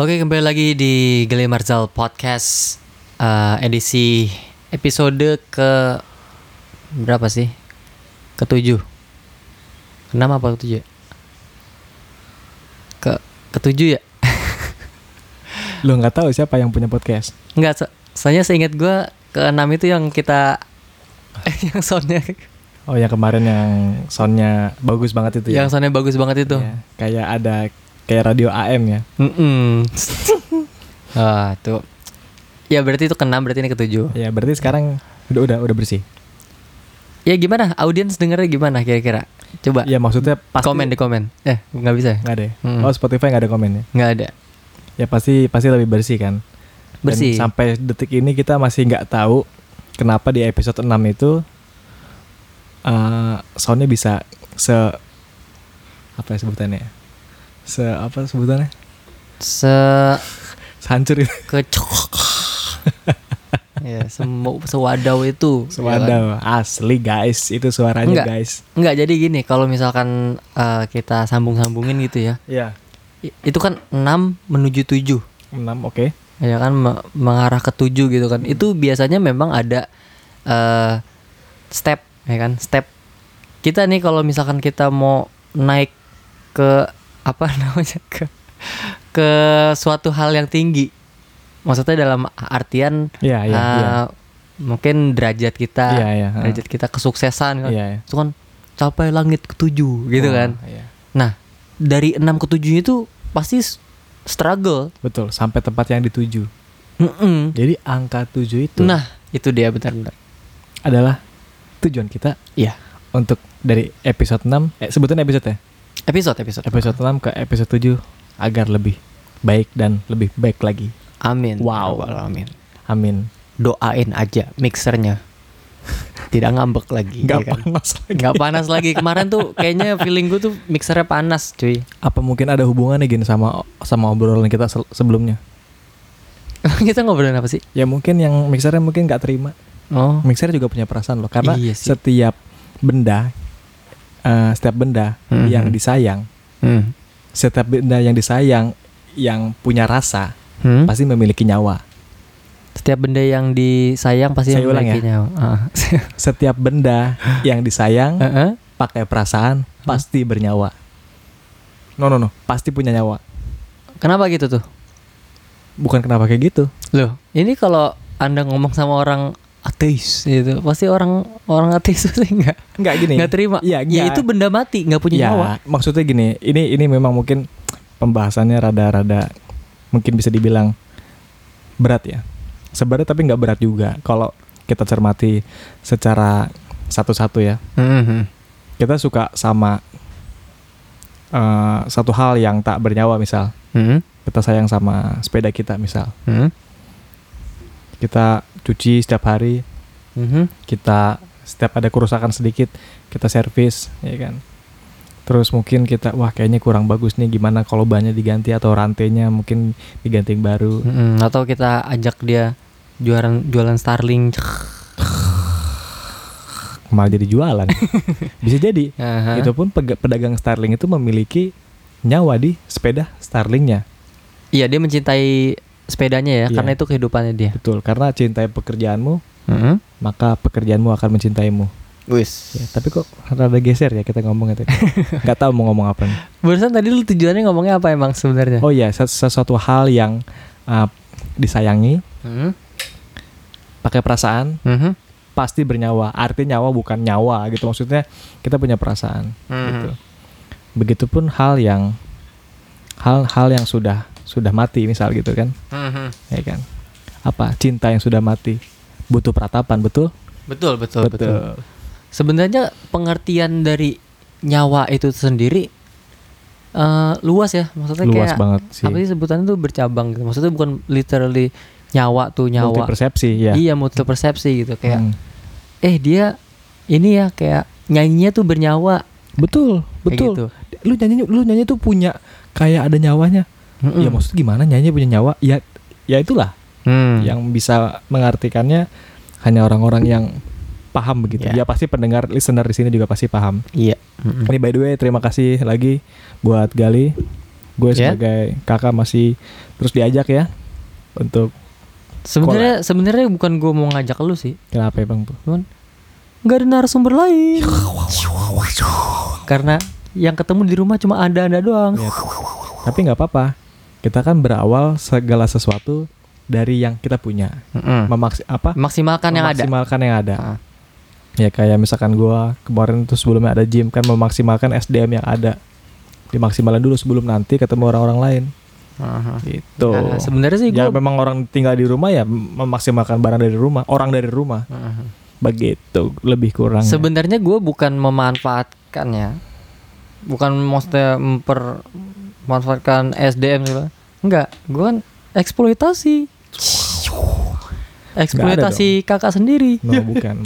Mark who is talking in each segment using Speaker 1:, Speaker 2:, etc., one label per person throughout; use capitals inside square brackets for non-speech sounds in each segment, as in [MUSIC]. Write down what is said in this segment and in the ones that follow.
Speaker 1: Oke, kembali lagi di Gele Marzal Podcast eh, edisi episode ke berapa sih? Ketujuh. Kenapa apa ketujuh? ya? Ke ketujuh ya?
Speaker 2: Lo nggak tahu siapa yang punya podcast?
Speaker 1: Enggak, so- soalnya seingat gua keenam itu yang kita [LAUGHS] yang soundnya
Speaker 2: Oh yang kemarin yang soundnya bagus banget itu ya?
Speaker 1: yang soundnya bagus banget itu.
Speaker 2: Iya. Kayak ada kayak radio AM ya?
Speaker 1: Mm-mm. [LAUGHS] ah, tuh. Ya berarti itu keenam, berarti ini ketujuh.
Speaker 2: Ya berarti sekarang udah udah udah bersih.
Speaker 1: Ya gimana? Audiens dengernya gimana kira-kira? Coba
Speaker 2: Ya maksudnya pasti
Speaker 1: komen di komen. Eh, nggak bisa. ya?
Speaker 2: nggak ada. ya?
Speaker 1: Mm.
Speaker 2: Oh Spotify nggak ada komennya?
Speaker 1: Nggak ada.
Speaker 2: Ya pasti pasti lebih bersih kan? Dan
Speaker 1: Bersih.
Speaker 2: sampai detik ini kita masih nggak tahu kenapa di episode 6 itu eh soundnya bisa se apa ya sebutannya? Se apa sebutannya?
Speaker 1: Se
Speaker 2: Hancur itu.
Speaker 1: kecok. [LAUGHS] ya, semu sewadau itu. ya kan?
Speaker 2: Waduh, asli guys, itu suaranya
Speaker 1: Enggak.
Speaker 2: guys.
Speaker 1: Nggak jadi gini, kalau misalkan eh, kita sambung-sambungin gitu ya.
Speaker 2: Iya.
Speaker 1: i- Itu kan 6 menuju 7.
Speaker 2: 6 oke.
Speaker 1: Ya kan me- mengarah ke 7 gitu kan. Itu biasanya memang ada eh step ya kan, step. Kita nih kalau misalkan kita mau naik ke apa [LAUGHS] namanya ke ke suatu hal yang tinggi. Maksudnya dalam artian
Speaker 2: Iya, iya,
Speaker 1: Ah,
Speaker 2: iya.
Speaker 1: mungkin derajat kita
Speaker 2: Iya, iya, ha.
Speaker 1: derajat kita kesuksesan kan
Speaker 2: Iya, iya.
Speaker 1: itu kan capai langit ketujuh gitu
Speaker 2: Wah,
Speaker 1: kan
Speaker 2: Iya.
Speaker 1: nah dari enam ke tujuh itu pasti s- struggle
Speaker 2: Betul, sampai tempat yang dituju.
Speaker 1: Mm-mm.
Speaker 2: Jadi angka 7 itu
Speaker 1: nah itu dia benar-benar
Speaker 2: adalah tujuan kita
Speaker 1: iya
Speaker 2: untuk dari episode 6 eh sebutan episode ya.
Speaker 1: episode episode
Speaker 2: Episode 6 ke episode 7 agar lebih baik dan lebih baik lagi.
Speaker 1: amin
Speaker 2: Wow.
Speaker 1: Rabbal alamin
Speaker 2: Amin.
Speaker 1: doain aja mixernya [LAUGHS] tidak ngambek lagi ya
Speaker 2: Gak
Speaker 1: kan?
Speaker 2: panas lagi.
Speaker 1: nggak panas lagi kemarin tuh kayaknya feeling gue tuh mixernya panas cuy
Speaker 2: Apa mungkin ada hubungannya gini sama sama obrolan kita se- sebelumnya?
Speaker 1: [LAUGHS] kita ngobrolin apa sih
Speaker 2: Ya mungkin yang mixernya mungkin nggak terima.
Speaker 1: oh
Speaker 2: mixer juga punya perasaan loh karena
Speaker 1: Iya sih.
Speaker 2: setiap benda eh, setiap benda
Speaker 1: Mhm.
Speaker 2: yang disayang
Speaker 1: Hmm.
Speaker 2: setiap benda yang disayang yang punya rasa
Speaker 1: Hmm?
Speaker 2: pasti memiliki nyawa
Speaker 1: Setiap benda yang disayang pasti
Speaker 2: Saya ulang
Speaker 1: [LAUGHS] memiliki
Speaker 2: ya.
Speaker 1: nyawa. Ah.
Speaker 2: setiap benda yang disayang
Speaker 1: Heeh.
Speaker 2: pakai perasaan pasti bernyawa no no no pasti punya nyawa
Speaker 1: Kenapa gitu tuh?
Speaker 2: bukan kenapa kayak gitu
Speaker 1: Loh, ini kalau Anda ngomong sama orang ateis gitu, pasti orang orang ateis [LAUGHS] pasti enggak
Speaker 2: nggak gini
Speaker 1: enggak terima.
Speaker 2: ya,
Speaker 1: Ya, itu benda mati, nggak punya
Speaker 2: ya,
Speaker 1: nyawa.
Speaker 2: maksudnya gini ini ini memang mungkin pembahasannya rada-rada mungkin bisa dibilang berat ya sebenarnya tapi nggak berat juga kalau kita cermati secara satu-satu ya
Speaker 1: Hmm,
Speaker 2: kita suka sama eh, satu hal yang tak bernyawa misal
Speaker 1: Hmm,
Speaker 2: kita sayang sama sepeda kita misal kita cuci setiap hari
Speaker 1: Mhm.
Speaker 2: kita setiap ada kerusakan sedikit kita servis ya kan terus mungkin kita wah kayaknya kurang bagus nih gimana kalau bannya diganti atau rantainya mungkin diganti yang baru
Speaker 1: Mhm. Atau kita ajak dia jualan jualan Starling.
Speaker 2: malah jadi jualan bisa jadi
Speaker 1: Aha.
Speaker 2: itu pun pega- pedagang Starling itu memiliki nyawa di sepeda Starlingnya
Speaker 1: Iya, dia mencintai sepedanya ya,
Speaker 2: Iya.
Speaker 1: karena itu kehidupannya dia.
Speaker 2: betul karena cintai pekerjaanmu
Speaker 1: Heeh.
Speaker 2: maka pekerjaanmu akan mencintaimu
Speaker 1: Wis.
Speaker 2: ya, tapi kok rada geser ya kita ngomongnya tadi nggak tahu mau ngomong apa nih.
Speaker 1: Barusan tadi lu tujuannya ngomongnya apa emang sebenarnya?
Speaker 2: oh iya ses- sesuatu hal yang uh, disayangi
Speaker 1: Mhm.
Speaker 2: pakai perasaan
Speaker 1: Mhm.
Speaker 2: pasti bernyawa. Arti nyawa bukan nyawa gitu maksudnya kita punya perasaan
Speaker 1: Mhm.
Speaker 2: gitu. Begitupun hal yang hal-hal yang sudah sudah mati misal gitu kan,
Speaker 1: Mhm.
Speaker 2: ya kan. Apa cinta yang sudah mati butuh peratapan betul?
Speaker 1: Betul, betul, Oh, betul. Sebenarnya pengertian dari nyawa itu sendiri eh, luas ya, maksudnya
Speaker 2: Luas
Speaker 1: kayak
Speaker 2: banget sih.
Speaker 1: apa sih sebutannya tuh bercabang gitu. Maksudnya bukan literally nyawa tuh
Speaker 2: Multi
Speaker 1: nyawa.
Speaker 2: persepsi ya.
Speaker 1: Iya, multi persepsi gitu kayak
Speaker 2: Hmm.
Speaker 1: eh dia ini ya kayak nyanyinya tuh bernyawa
Speaker 2: Betul,
Speaker 1: kayak
Speaker 2: betul.
Speaker 1: gitu.
Speaker 2: Lu nyanyi lu nyanyi tuh punya kayak ada nyawanya.
Speaker 1: Mm-mm.
Speaker 2: Ya maksud gimana nyanyi punya nyawa? Ya ya itulah
Speaker 1: Hmm.
Speaker 2: yang bisa mengartikannya hanya orang-orang yang paham begitu.
Speaker 1: Ya.
Speaker 2: Ya pasti pendengar listener di sini juga pasti paham.
Speaker 1: iya. Mm-mm.
Speaker 2: Ini by the way terima kasih lagi buat Gali gue
Speaker 1: Ya.
Speaker 2: sebagai kakak masih terus diajak ya untuk
Speaker 1: Sebenarnya sebenarnya bukan gue mau ngajak lu sih,
Speaker 2: kenapa ya bang?
Speaker 1: cuman nggak ada narasumber lain. Karena yang ketemu di rumah cuma anda anda doang.
Speaker 2: Ya. Tapi nggak apa-apa. Kita kan berawal segala sesuatu dari yang kita punya.
Speaker 1: Mm-mm.
Speaker 2: Memaks apa?
Speaker 1: Maksimalkan Hmm. yang ada.
Speaker 2: memaksimalkan yang ada.
Speaker 1: Ah.
Speaker 2: Ya kayak misalkan gua kemarin tuh sebelumnya ada gym kan memaksimalkan SDM yang ada. Dimaksimalkan dulu sebelum nanti ketemu orang-orang lain.
Speaker 1: Aha.
Speaker 2: Gitu.
Speaker 1: Nah, sebenarnya sih
Speaker 2: ya
Speaker 1: gue
Speaker 2: memang orang tinggal di rumah ya memaksimalkan barang dari rumah, orang dari rumah.
Speaker 1: Ah.
Speaker 2: Begitu lebih kurang. ya.
Speaker 1: sebenarnya gue bukan memanfaatkan ya, bukan maksudnya memper memanfaatkan SDM gitu. Enggak, gue kan eksploitasi. Eksploitasi kakak sendiri.
Speaker 2: No, bukan.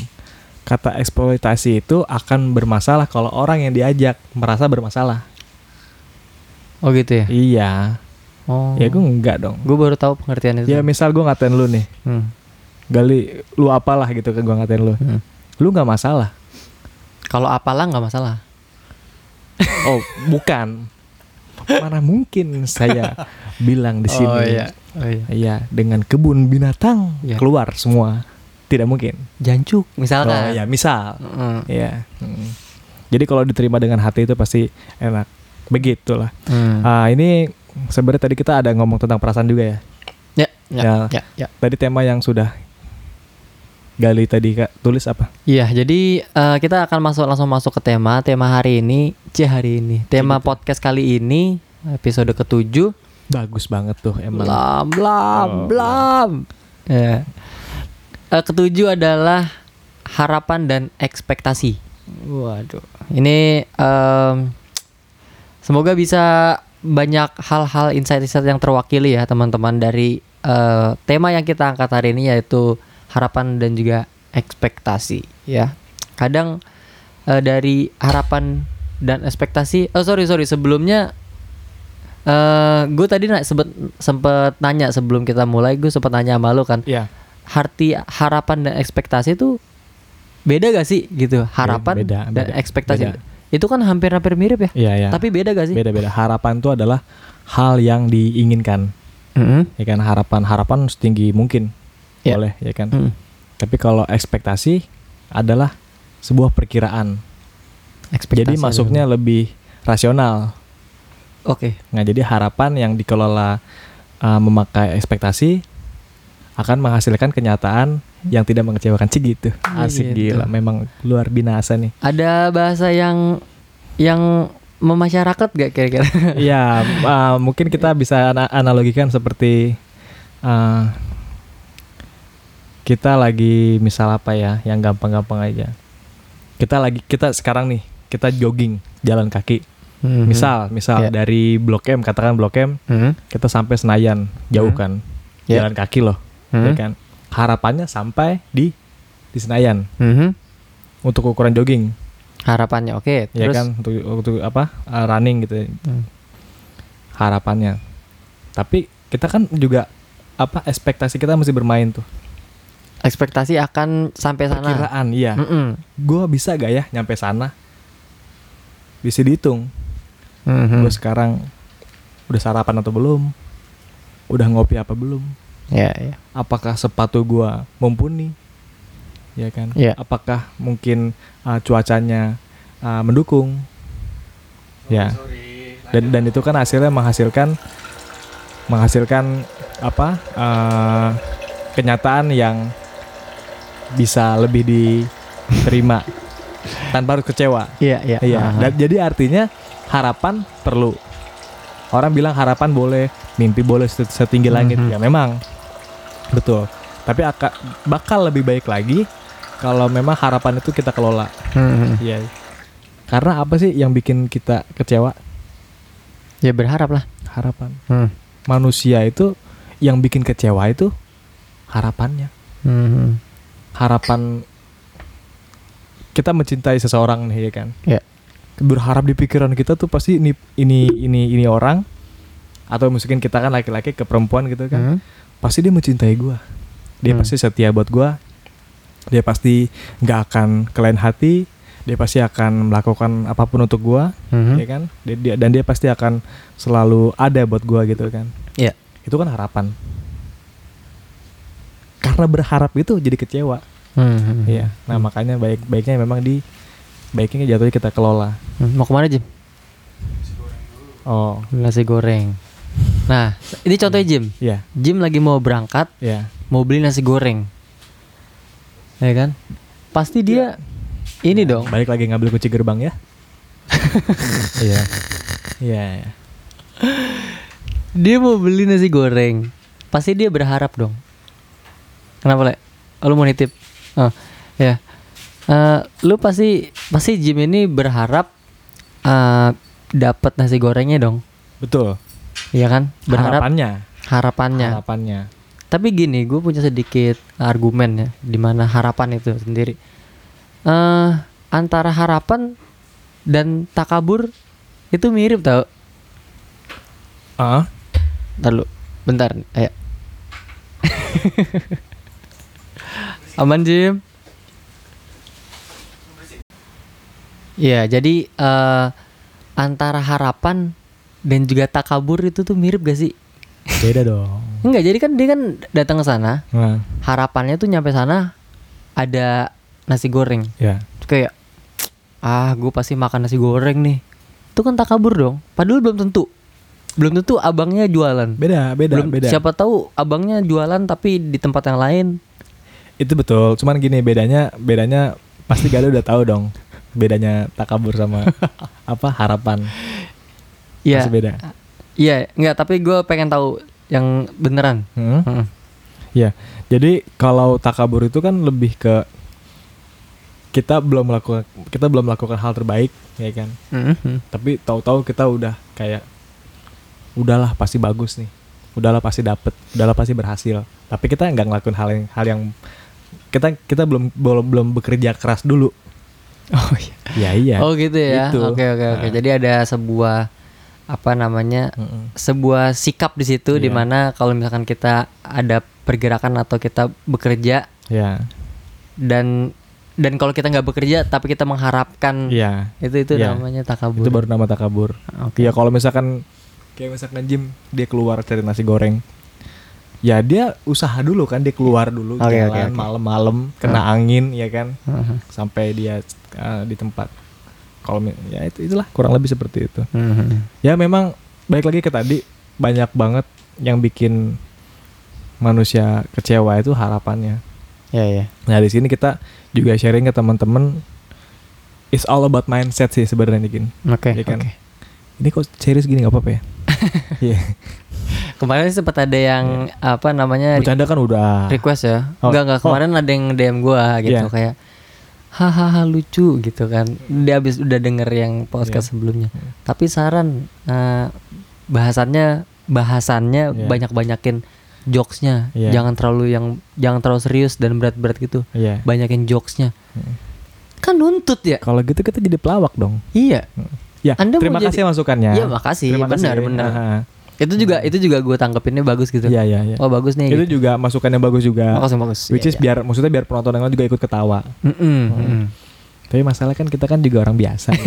Speaker 2: Kata eksploitasi itu akan bermasalah kalau orang yang diajak merasa bermasalah.
Speaker 1: Oh gitu ya.
Speaker 2: Iya.
Speaker 1: Oh.
Speaker 2: Ya gue enggak dong.
Speaker 1: Gue baru tahu pengertian itu.
Speaker 2: Ya misal gue ngatain lu nih,
Speaker 1: Hmm.
Speaker 2: Gali, lu apalah gitu kan gue ngatain lu.
Speaker 1: Hmm.
Speaker 2: Lu nggak masalah.
Speaker 1: Kalau apalah nggak masalah.
Speaker 2: Oh, bukan. Mana mungkin saya bilang di sini.
Speaker 1: Oh iya.
Speaker 2: Iya, dengan kebun binatang
Speaker 1: Iya.
Speaker 2: keluar semua. Tidak mungkin.
Speaker 1: Jancuk misalkan.
Speaker 2: Oh ya, misal.
Speaker 1: Mm.
Speaker 2: Iya. Mm. Jadi kalau diterima dengan hati itu pasti enak. Begitulah.
Speaker 1: Hmm.
Speaker 2: Ah, ini sebenarnya tadi kita ada ngomong tentang perasaan juga ya.
Speaker 1: Ya, ya,
Speaker 2: Ya.
Speaker 1: ya, ya.
Speaker 2: Tadi tema yang sudah Gali tadi Kak, tulis apa?
Speaker 1: Iya, jadi eh, kita akan masuk langsung masuk ke tema. Tema hari ini, c hari ini. Tema podcast kali ini episode ketujuh.
Speaker 2: Bagus banget tuh emang.
Speaker 1: Blam blam
Speaker 2: Oh,
Speaker 1: blam. Ya. Eh, ketujuh adalah harapan dan ekspektasi. Waduh. Ini em, semoga bisa banyak hal-hal insight-insight yang terwakili ya teman-teman dari eh, tema yang kita angkat hari ini yaitu harapan dan juga ekspektasi ya. Kadang eh, dari harapan dan ekspektasi. Oh sorry sorry sebelumnya eh gue tadi na- sempet, sempet nanya sebelum kita mulai gue sempet nanya sama lo kan
Speaker 2: Iya.
Speaker 1: arti harapan dan ekspektasi itu beda gak sih gitu harapan
Speaker 2: Iya, beda,
Speaker 1: dan
Speaker 2: beda,
Speaker 1: ekspektasi
Speaker 2: beda.
Speaker 1: itu kan hampir-hampir mirip ya
Speaker 2: Iya, iya.
Speaker 1: tapi beda gak sih
Speaker 2: beda-beda. Harapan itu adalah hal yang diinginkan.
Speaker 1: Mm-mm.
Speaker 2: Ya kan harapan-harapan setinggi mungkin.
Speaker 1: Iya.
Speaker 2: Boleh, ya kan?
Speaker 1: Mm.
Speaker 2: Tapi kalau ekspektasi adalah sebuah perkiraan.
Speaker 1: ekspektasi
Speaker 2: jadi masuknya lebih rasional.
Speaker 1: oke
Speaker 2: Nah, jadi harapan yang dikelola uh, memakai ekspektasi akan menghasilkan kenyataan yang tidak mengecewakan sih gitu. Asik
Speaker 1: Gitu.
Speaker 2: gila, memang luar binasa nih.
Speaker 1: ada bahasa yang yang memasyarakat gak
Speaker 2: [LAUGHS]
Speaker 1: kira-kira
Speaker 2: Iya, uh, mungkin kita bisa ana- analogikan seperti uh, kita lagi misal apa ya, yang gampang-gampang aja. Kita lagi kita sekarang nih kita jogging jalan kaki.
Speaker 1: Mhm.
Speaker 2: Misal, Iya misal
Speaker 1: Iya.
Speaker 2: dari Blok M katakan Blok M
Speaker 1: Mhm.
Speaker 2: kita sampai Senayan jauh
Speaker 1: Hmm.
Speaker 2: kan,
Speaker 1: Iya.
Speaker 2: jalan kaki loh,
Speaker 1: Hmm.
Speaker 2: ya kan. Harapannya sampai di di Senayan
Speaker 1: Mhm.
Speaker 2: untuk ukuran jogging,
Speaker 1: harapannya oke
Speaker 2: ya
Speaker 1: terus
Speaker 2: kan untuk untuk apa uh, running gitu
Speaker 1: Hmm.
Speaker 2: harapannya. Tapi kita kan juga apa ekspektasi kita mesti bermain tuh.
Speaker 1: ekspektasi akan sampai sana Hmm.
Speaker 2: Perkiraan, iya.
Speaker 1: Mm-mm.
Speaker 2: Gua bisa gak ya nyampe sana? Bisa dihitung.
Speaker 1: Mhm.
Speaker 2: Gua sekarang udah sarapan atau belum? Udah ngopi apa belum?
Speaker 1: ya ya
Speaker 2: Apakah sepatu gua mumpuni? Ya kan?
Speaker 1: Iya.
Speaker 2: Apakah mungkin uh, cuacanya uh, mendukung? Ya. Dan dan itu kan hasilnya menghasilkan menghasilkan apa eh, kenyataan yang bisa lebih diterima tanpa harus kecewa.
Speaker 1: Iya, iya.
Speaker 2: Iya.
Speaker 1: Aha.
Speaker 2: Dan- jadi artinya harapan perlu. Orang bilang harapan boleh, mimpi boleh set- setinggi langit.
Speaker 1: Mhm.
Speaker 2: Ya memang betul. Tapi aka- bakal lebih baik lagi kalau memang harapan itu kita kelola.
Speaker 1: Hmm.
Speaker 2: Iya. Karena apa sih yang bikin kita kecewa?
Speaker 1: Ya berharap lah.
Speaker 2: Harapan.
Speaker 1: Hmm.
Speaker 2: manusia itu yang bikin kecewa itu harapannya Mm-hmm.
Speaker 1: Mhm.
Speaker 2: harapan kita mencintai seseorang nih ya kan
Speaker 1: Ya.
Speaker 2: berharap di pikiran kita tuh pasti ini ini ini ini orang atau mungkin kita kan laki-laki ke perempuan gitu kan
Speaker 1: Hmm.
Speaker 2: pasti dia mencintai gua dia
Speaker 1: Hmm.
Speaker 2: pasti setia buat gua dia pasti nggak akan kelain hati dia pasti akan melakukan apapun untuk gua
Speaker 1: Mhm.
Speaker 2: ya kan Dia- dia- dan dia pasti akan selalu ada buat gua gitu kan
Speaker 1: Iya.
Speaker 2: itu kan harapan karena berharap itu jadi kecewa
Speaker 1: Mhm.
Speaker 2: iya nah makanya baik baiknya memang di baiknya jatuhnya kita kelola
Speaker 1: Hmm, Mau kemana Jim?
Speaker 2: oh
Speaker 1: Nasi goreng. Nah, ini contohnya Jim.
Speaker 2: iya
Speaker 1: Jim lagi mau berangkat,
Speaker 2: iya
Speaker 1: mau beli nasi goreng. Ya kan? Pasti dia ini dong.
Speaker 2: balik lagi ngambil kunci gerbang ya [LAUGHS] iya iya iya.
Speaker 1: Dia mau beli nasi goreng. Pasti dia berharap dong. Kenapa, Le? Lu mau nitip? Oh, ya. Eh, lu pasti pasti Jim ini berharap eh dapat nasi gorengnya dong.
Speaker 2: betul
Speaker 1: Iya kan? Berharap
Speaker 2: harapannya
Speaker 1: harapannya.
Speaker 2: harapannya
Speaker 1: Tapi gini, gue punya sedikit argumen ya, di mana harapan itu sendiri. eh antara harapan dan takabur itu mirip tau?
Speaker 2: ah
Speaker 1: Ntar lu, bentar, nih, ayo. [LAUGHS] Aman Jim? Iya, jadi eh antara harapan dan juga takabur itu tuh mirip gak sih?
Speaker 2: beda dong
Speaker 1: Enggak, jadi kan dia kan datang ke sana,
Speaker 2: nah
Speaker 1: harapannya tuh nyampe sana ada nasi goreng
Speaker 2: ya
Speaker 1: Terus kayak ah gue pasti makan nasi goreng nih itu kan tak kabur dong padahal belum tentu belum tentu abangnya jualan
Speaker 2: beda beda
Speaker 1: belum
Speaker 2: beda
Speaker 1: siapa tahu abangnya jualan tapi di tempat yang lain
Speaker 2: Itu betul, cuman gini bedanya bedanya pasti Galuh udah tahu dong bedanya takabur [LAUGHS] sama apa harapan.
Speaker 1: ya
Speaker 2: Pasti beda.
Speaker 1: iya enggak tapi gue pengen tahu yang beneran
Speaker 2: Hmm?
Speaker 1: Heeh.
Speaker 2: Ya. Jadi kalau takabur itu kan lebih ke kita belum melakukan kita belum melakukan hal terbaik, ya kan?
Speaker 1: Mhm.
Speaker 2: Tapi tahu-tahu kita udah kayak udahlah pasti bagus nih. Udahlah pasti dapet, udahlah pasti berhasil. Tapi kita nggak ngelakuin hal yang hal yang kita kita belum belum belum bekerja keras dulu.
Speaker 1: oh iya
Speaker 2: Ya iya.
Speaker 1: oh gitu ya
Speaker 2: Gitu.
Speaker 1: oke oke oke
Speaker 2: Nah.
Speaker 1: jadi ada sebuah apa namanya
Speaker 2: Mm-mm.
Speaker 1: sebuah sikap di situ di
Speaker 2: Iya.
Speaker 1: mana kalau misalkan kita ada pergerakan atau kita bekerja
Speaker 2: Ya.
Speaker 1: dan dan kalau kita nggak bekerja tapi kita mengharapkan
Speaker 2: Iya.
Speaker 1: itu itu
Speaker 2: Iya.
Speaker 1: namanya takabur.
Speaker 2: Itu baru nama takabur.
Speaker 1: Oke.
Speaker 2: Ya kalau misalkan kayak misalkan Jim dia keluar cari nasi goreng. Ya dia usaha dulu kan dia keluar dulu
Speaker 1: Oke,
Speaker 2: jalan
Speaker 1: oke, oke.
Speaker 2: malam-malam kena angin ya kan
Speaker 1: Heeh.
Speaker 2: sampai dia eh, di tempat. Kalau mi- ya itu itulah kurang lebih seperti itu.
Speaker 1: Mhm.
Speaker 2: Ya memang balik lagi ke tadi banyak banget yang bikin manusia kecewa itu harapannya.
Speaker 1: Ya ya.
Speaker 2: Nah di sini kita juga sharing ke teman-teman it's all about mindset sih sebenarnya gini.
Speaker 1: Oke.
Speaker 2: Iya kan?
Speaker 1: oke.
Speaker 2: Ini kok serius gini nggak apa-apa
Speaker 1: [LAUGHS]
Speaker 2: ya? Iya.
Speaker 1: Kemarin sempat ada yang apa namanya
Speaker 2: Bercanda kan udah.
Speaker 1: request ya.
Speaker 2: Oh.
Speaker 1: Enggak enggak kemarin ada yang DM gua gitu
Speaker 2: Iya.
Speaker 1: kayak hahaha lucu gitu kan. Dia habis udah denger yang
Speaker 2: Iya.
Speaker 1: podcast sebelumnya. Tapi saran eh, bahasannya bahasannya
Speaker 2: Iya.
Speaker 1: banyak-banyakin jokesnya
Speaker 2: Iya.
Speaker 1: jangan terlalu yang jangan terlalu serius dan berat-berat gitu
Speaker 2: Iya.
Speaker 1: banyakin jokesnya
Speaker 2: Iya.
Speaker 1: kan nuntut ya
Speaker 2: Kalau gitu kita jadi pelawak dong.
Speaker 1: iya
Speaker 2: Ya.
Speaker 1: Anda mau
Speaker 2: terima
Speaker 1: jadi-
Speaker 2: kasih masukannya.
Speaker 1: Iya, makasih. Benar, benar.
Speaker 2: Ah,
Speaker 1: itu juga itu juga gue tangkepinnya bagus gitu
Speaker 2: Iya iya iya.
Speaker 1: oh bagus nih
Speaker 2: Itu
Speaker 1: gitu.
Speaker 2: juga masukannya bagus juga.
Speaker 1: bagus bagus
Speaker 2: Which
Speaker 1: Iya,
Speaker 2: is Hmm.
Speaker 1: iya.
Speaker 2: biar maksudnya biar penonton yang lain juga ikut ketawa.
Speaker 1: Mm-mm, mm-mm.
Speaker 2: Tapi masalah kan kita kan juga orang
Speaker 1: [LAUGHS]
Speaker 2: biasa. ya.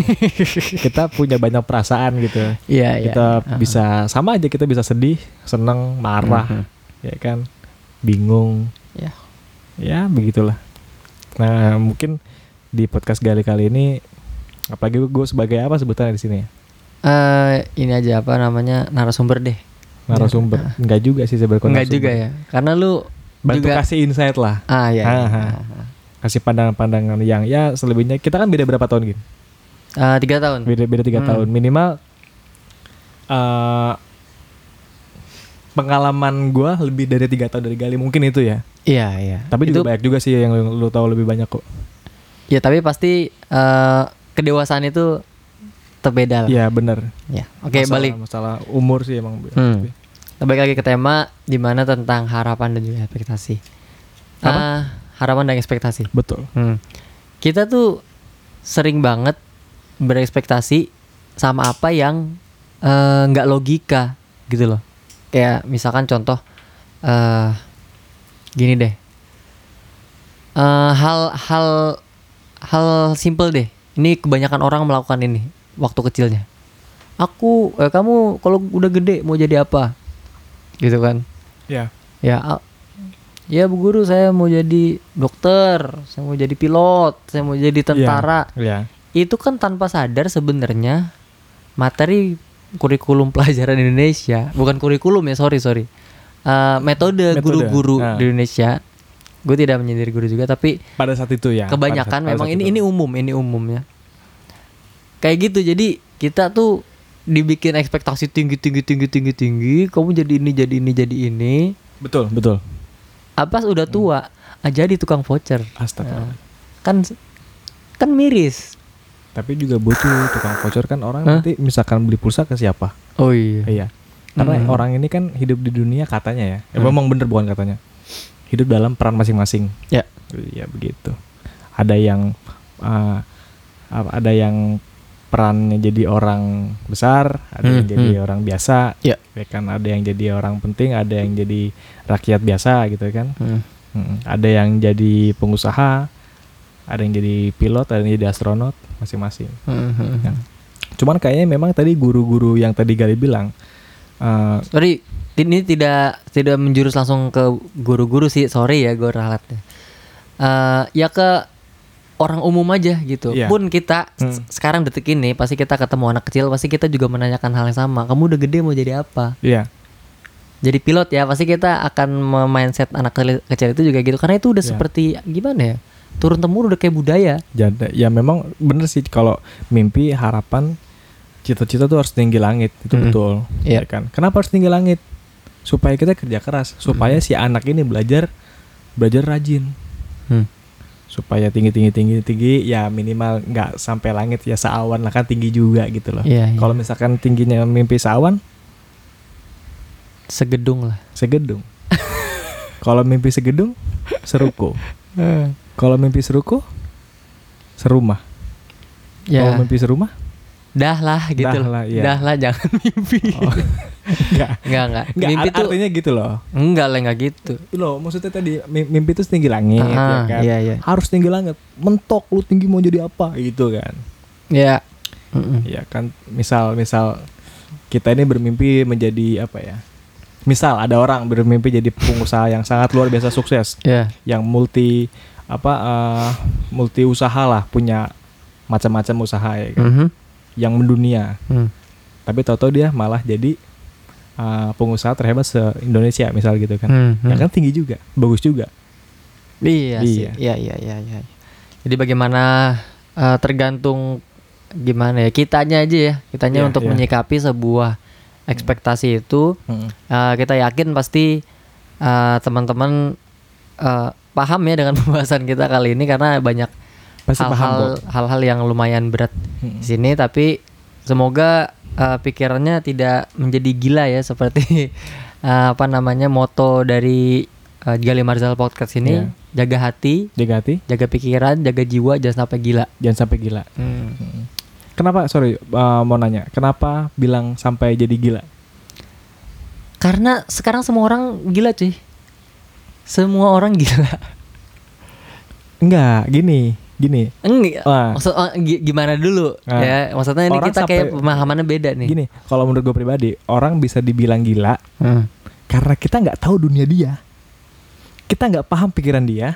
Speaker 2: kita punya banyak perasaan gitu.
Speaker 1: iya iya
Speaker 2: kita bisa sama aja kita bisa sedih,
Speaker 1: Mhm.
Speaker 2: seneng, marah, ya kan? Bingung,
Speaker 1: Iya.
Speaker 2: ya begitulah nah mungkin di podcast gali kali ini apalagi gue sebagai apa sebutannya di sini ya
Speaker 1: Eh, ini aja apa namanya narasumber deh
Speaker 2: narasumber enggak juga sih sebagai
Speaker 1: enggak Ya.
Speaker 2: narasumber.
Speaker 1: juga ya karena lu
Speaker 2: bantu
Speaker 1: juga
Speaker 2: kasih insight lah
Speaker 1: ah ya
Speaker 2: Ah, ah. kasih pandangan-pandangan yang ya selebihnya kita kan beda berapa tahun gitu
Speaker 1: Eh, tiga tahun
Speaker 2: beda beda tiga
Speaker 1: Hmm.
Speaker 2: tahun minimal eh pengalaman gue lebih dari tiga tahun dari gali mungkin itu ya
Speaker 1: iya iya
Speaker 2: tapi
Speaker 1: itu
Speaker 2: juga banyak juga sih yang lu, lu tahu lebih banyak kok
Speaker 1: ya tapi pasti eh, kedewasaan itu terbeda lah
Speaker 2: ya benar
Speaker 1: ya oke
Speaker 2: Masalah-
Speaker 1: balik
Speaker 2: masalah umur sih emang
Speaker 1: Hmm. balik lagi ke tema di mana tentang harapan dan juga ekspektasi
Speaker 2: Apa?
Speaker 1: Ah, harapan dan ekspektasi
Speaker 2: betul
Speaker 1: Hmm. Kita tuh sering banget berekspektasi sama apa yang eh, nggak logika gitu loh. Kayak misalkan contoh eh gini deh. Eh, hal hal hal simple deh. ini kebanyakan orang melakukan ini waktu kecilnya aku eh, kamu kalau udah gede mau jadi apa gitu kan
Speaker 2: Ya.
Speaker 1: ya a- ya bu guru saya mau jadi dokter saya mau jadi pilot saya mau jadi tentara
Speaker 2: Ya.
Speaker 1: itu kan tanpa sadar sebenarnya materi kurikulum pelajaran Indonesia bukan kurikulum ya sorry sorry Eh, metode
Speaker 2: Metode,
Speaker 1: guru-guru
Speaker 2: nah.
Speaker 1: di Indonesia gue tidak menyindir guru juga tapi
Speaker 2: Pada saat itu ya.
Speaker 1: kebanyakan memang ini ini umum ini umumnya kayak gitu jadi kita tuh dibikin ekspektasi tinggi tinggi tinggi tinggi tinggi kamu jadi ini jadi ini jadi ini
Speaker 2: betul betul.
Speaker 1: apa udah tua ah, jadi tukang voucher
Speaker 2: Astaga.
Speaker 1: kan kan miris
Speaker 2: Tapi juga butuh tukang voucher kan orang
Speaker 1: Hah?
Speaker 2: nanti misalkan beli pulsa ke siapa?
Speaker 1: oh iya
Speaker 2: Iya. Karena
Speaker 1: Hmm.
Speaker 2: orang ini kan hidup di dunia katanya ya. Eh, Memang bener bukan katanya. Hidup dalam peran masing-masing.
Speaker 1: ya
Speaker 2: Iya begitu. Ada yang eh, apa- ada yang perannya jadi orang besar, ada yang
Speaker 1: Hmm,
Speaker 2: jadi
Speaker 1: hmm.
Speaker 2: orang biasa,
Speaker 1: Ya.
Speaker 2: kan ada yang jadi orang penting, ada yang jadi rakyat biasa gitu kan.
Speaker 1: Hmm.
Speaker 2: Mm, Ada yang jadi pengusaha, ada yang jadi pilot, ada yang jadi astronot masing-masing.
Speaker 1: Hmm, hmm, hmm.
Speaker 2: Ya. Cuman kayaknya memang tadi guru-guru yang tadi Gali bilang eh,
Speaker 1: Sorry, ini tidak tidak menjurus langsung ke guru-guru sih. Sorry ya gue ralatnya. Eh, ya ke orang umum aja gitu.
Speaker 2: Iya.
Speaker 1: Pun kita s-
Speaker 2: Hmm.
Speaker 1: sekarang detik ini pasti kita ketemu anak kecil, pasti kita juga menanyakan hal yang sama. Kamu udah gede mau jadi apa?
Speaker 2: iya,
Speaker 1: Jadi pilot ya, pasti kita akan mindset anak kecil- kecil itu juga gitu. Karena itu udah
Speaker 2: Iya.
Speaker 1: seperti gimana ya? Turun temurun udah kayak budaya.
Speaker 2: jadi ya memang bener sih kalau mimpi, harapan, cita-cita tuh harus tinggi langit itu
Speaker 1: Mm.
Speaker 2: betul,
Speaker 1: Iya.
Speaker 2: ya kan? Kenapa harus tinggi langit? Supaya kita kerja keras, supaya si anak ini belajar belajar rajin, Hmm. supaya tinggi tinggi tinggi tinggi ya minimal nggak sampai langit ya seawan lah kan tinggi juga gitu loh.
Speaker 1: Iya, iya.
Speaker 2: Kalau misalkan tingginya mimpi seawan,
Speaker 1: Segedung lah. [LAUGHS]
Speaker 2: segedung. Kalau mimpi segedung, seruko. Eh, Kalau mimpi seruko, serumah. Kalau
Speaker 1: Ya.
Speaker 2: mimpi
Speaker 1: [LAUGHS]
Speaker 2: serumah,
Speaker 1: Dah lah gitu.
Speaker 2: Dah
Speaker 1: loh.
Speaker 2: lah, iya.
Speaker 1: Dah lah jangan [LAUGHS] mimpi.
Speaker 2: oh, enggak.
Speaker 1: Enggak, enggak.
Speaker 2: Enggak,
Speaker 1: mimpi
Speaker 2: ar-
Speaker 1: tuh
Speaker 2: artinya gitu loh.
Speaker 1: enggak lah enggak gitu.
Speaker 2: Loh, maksudnya tadi mi- mimpi itu setinggi langit ya
Speaker 1: Ah,
Speaker 2: kan.
Speaker 1: iya, iya.
Speaker 2: Harus tinggi langit. Mentok lu tinggi mau jadi apa gitu kan.
Speaker 1: Ya. Mm-mm.
Speaker 2: Ya kan misal misal kita ini bermimpi menjadi apa ya? Misal ada orang bermimpi jadi pengusaha yang sangat luar biasa sukses.
Speaker 1: Ya.
Speaker 2: yang multi apa eh, multi usaha lah punya macam-macam usaha ya kan,
Speaker 1: Mhm.
Speaker 2: yang mendunia
Speaker 1: Mm.
Speaker 2: tapi tahu-tahu dia malah jadi eh, pengusaha terhebat se Indonesia misal gitu kan
Speaker 1: Mm,
Speaker 2: ya
Speaker 1: mm.
Speaker 2: kan tinggi juga bagus juga
Speaker 1: Iya sih. Iya,
Speaker 2: Iya.
Speaker 1: iya, iya, iya. Jadi bagaimana eh, tergantung gimana ya kitanya aja ya. Kitanya
Speaker 2: Iya,
Speaker 1: untuk
Speaker 2: iya.
Speaker 1: menyikapi sebuah ekspektasi itu
Speaker 2: Mm.
Speaker 1: eh, kita yakin pasti eh, teman-teman eh, paham ya dengan [LAUGHS] pembahasan kita kali ini karena banyak
Speaker 2: pasti paham kok
Speaker 1: hal-hal hal-hal yang lumayan berat
Speaker 2: Mm.
Speaker 1: di sini tapi semoga uh, pikirannya tidak menjadi gila ya seperti [LAUGHS] uh, apa namanya moto dari uh, Gali Marzal podcast ini
Speaker 2: Iya.
Speaker 1: jaga hati
Speaker 2: jaga hati
Speaker 1: jaga pikiran jaga jiwa jangan sampai gila
Speaker 2: jangan sampai gila Mm-hmm. kenapa sorry eh, mau nanya kenapa bilang sampai jadi gila
Speaker 1: karena sekarang semua orang gila cuy semua orang gila [LAUGHS]
Speaker 2: enggak gini gini
Speaker 1: enggak
Speaker 2: Wah.
Speaker 1: maksud oh, gi- gimana dulu
Speaker 2: Ah.
Speaker 1: ya maksudnya ini
Speaker 2: Orang
Speaker 1: kita
Speaker 2: sampai-
Speaker 1: kayak pemahamannya beda nih
Speaker 2: gini kalau menurut gue pribadi orang bisa dibilang gila
Speaker 1: Hmm.
Speaker 2: karena kita nggak tahu dunia dia kita nggak paham pikiran dia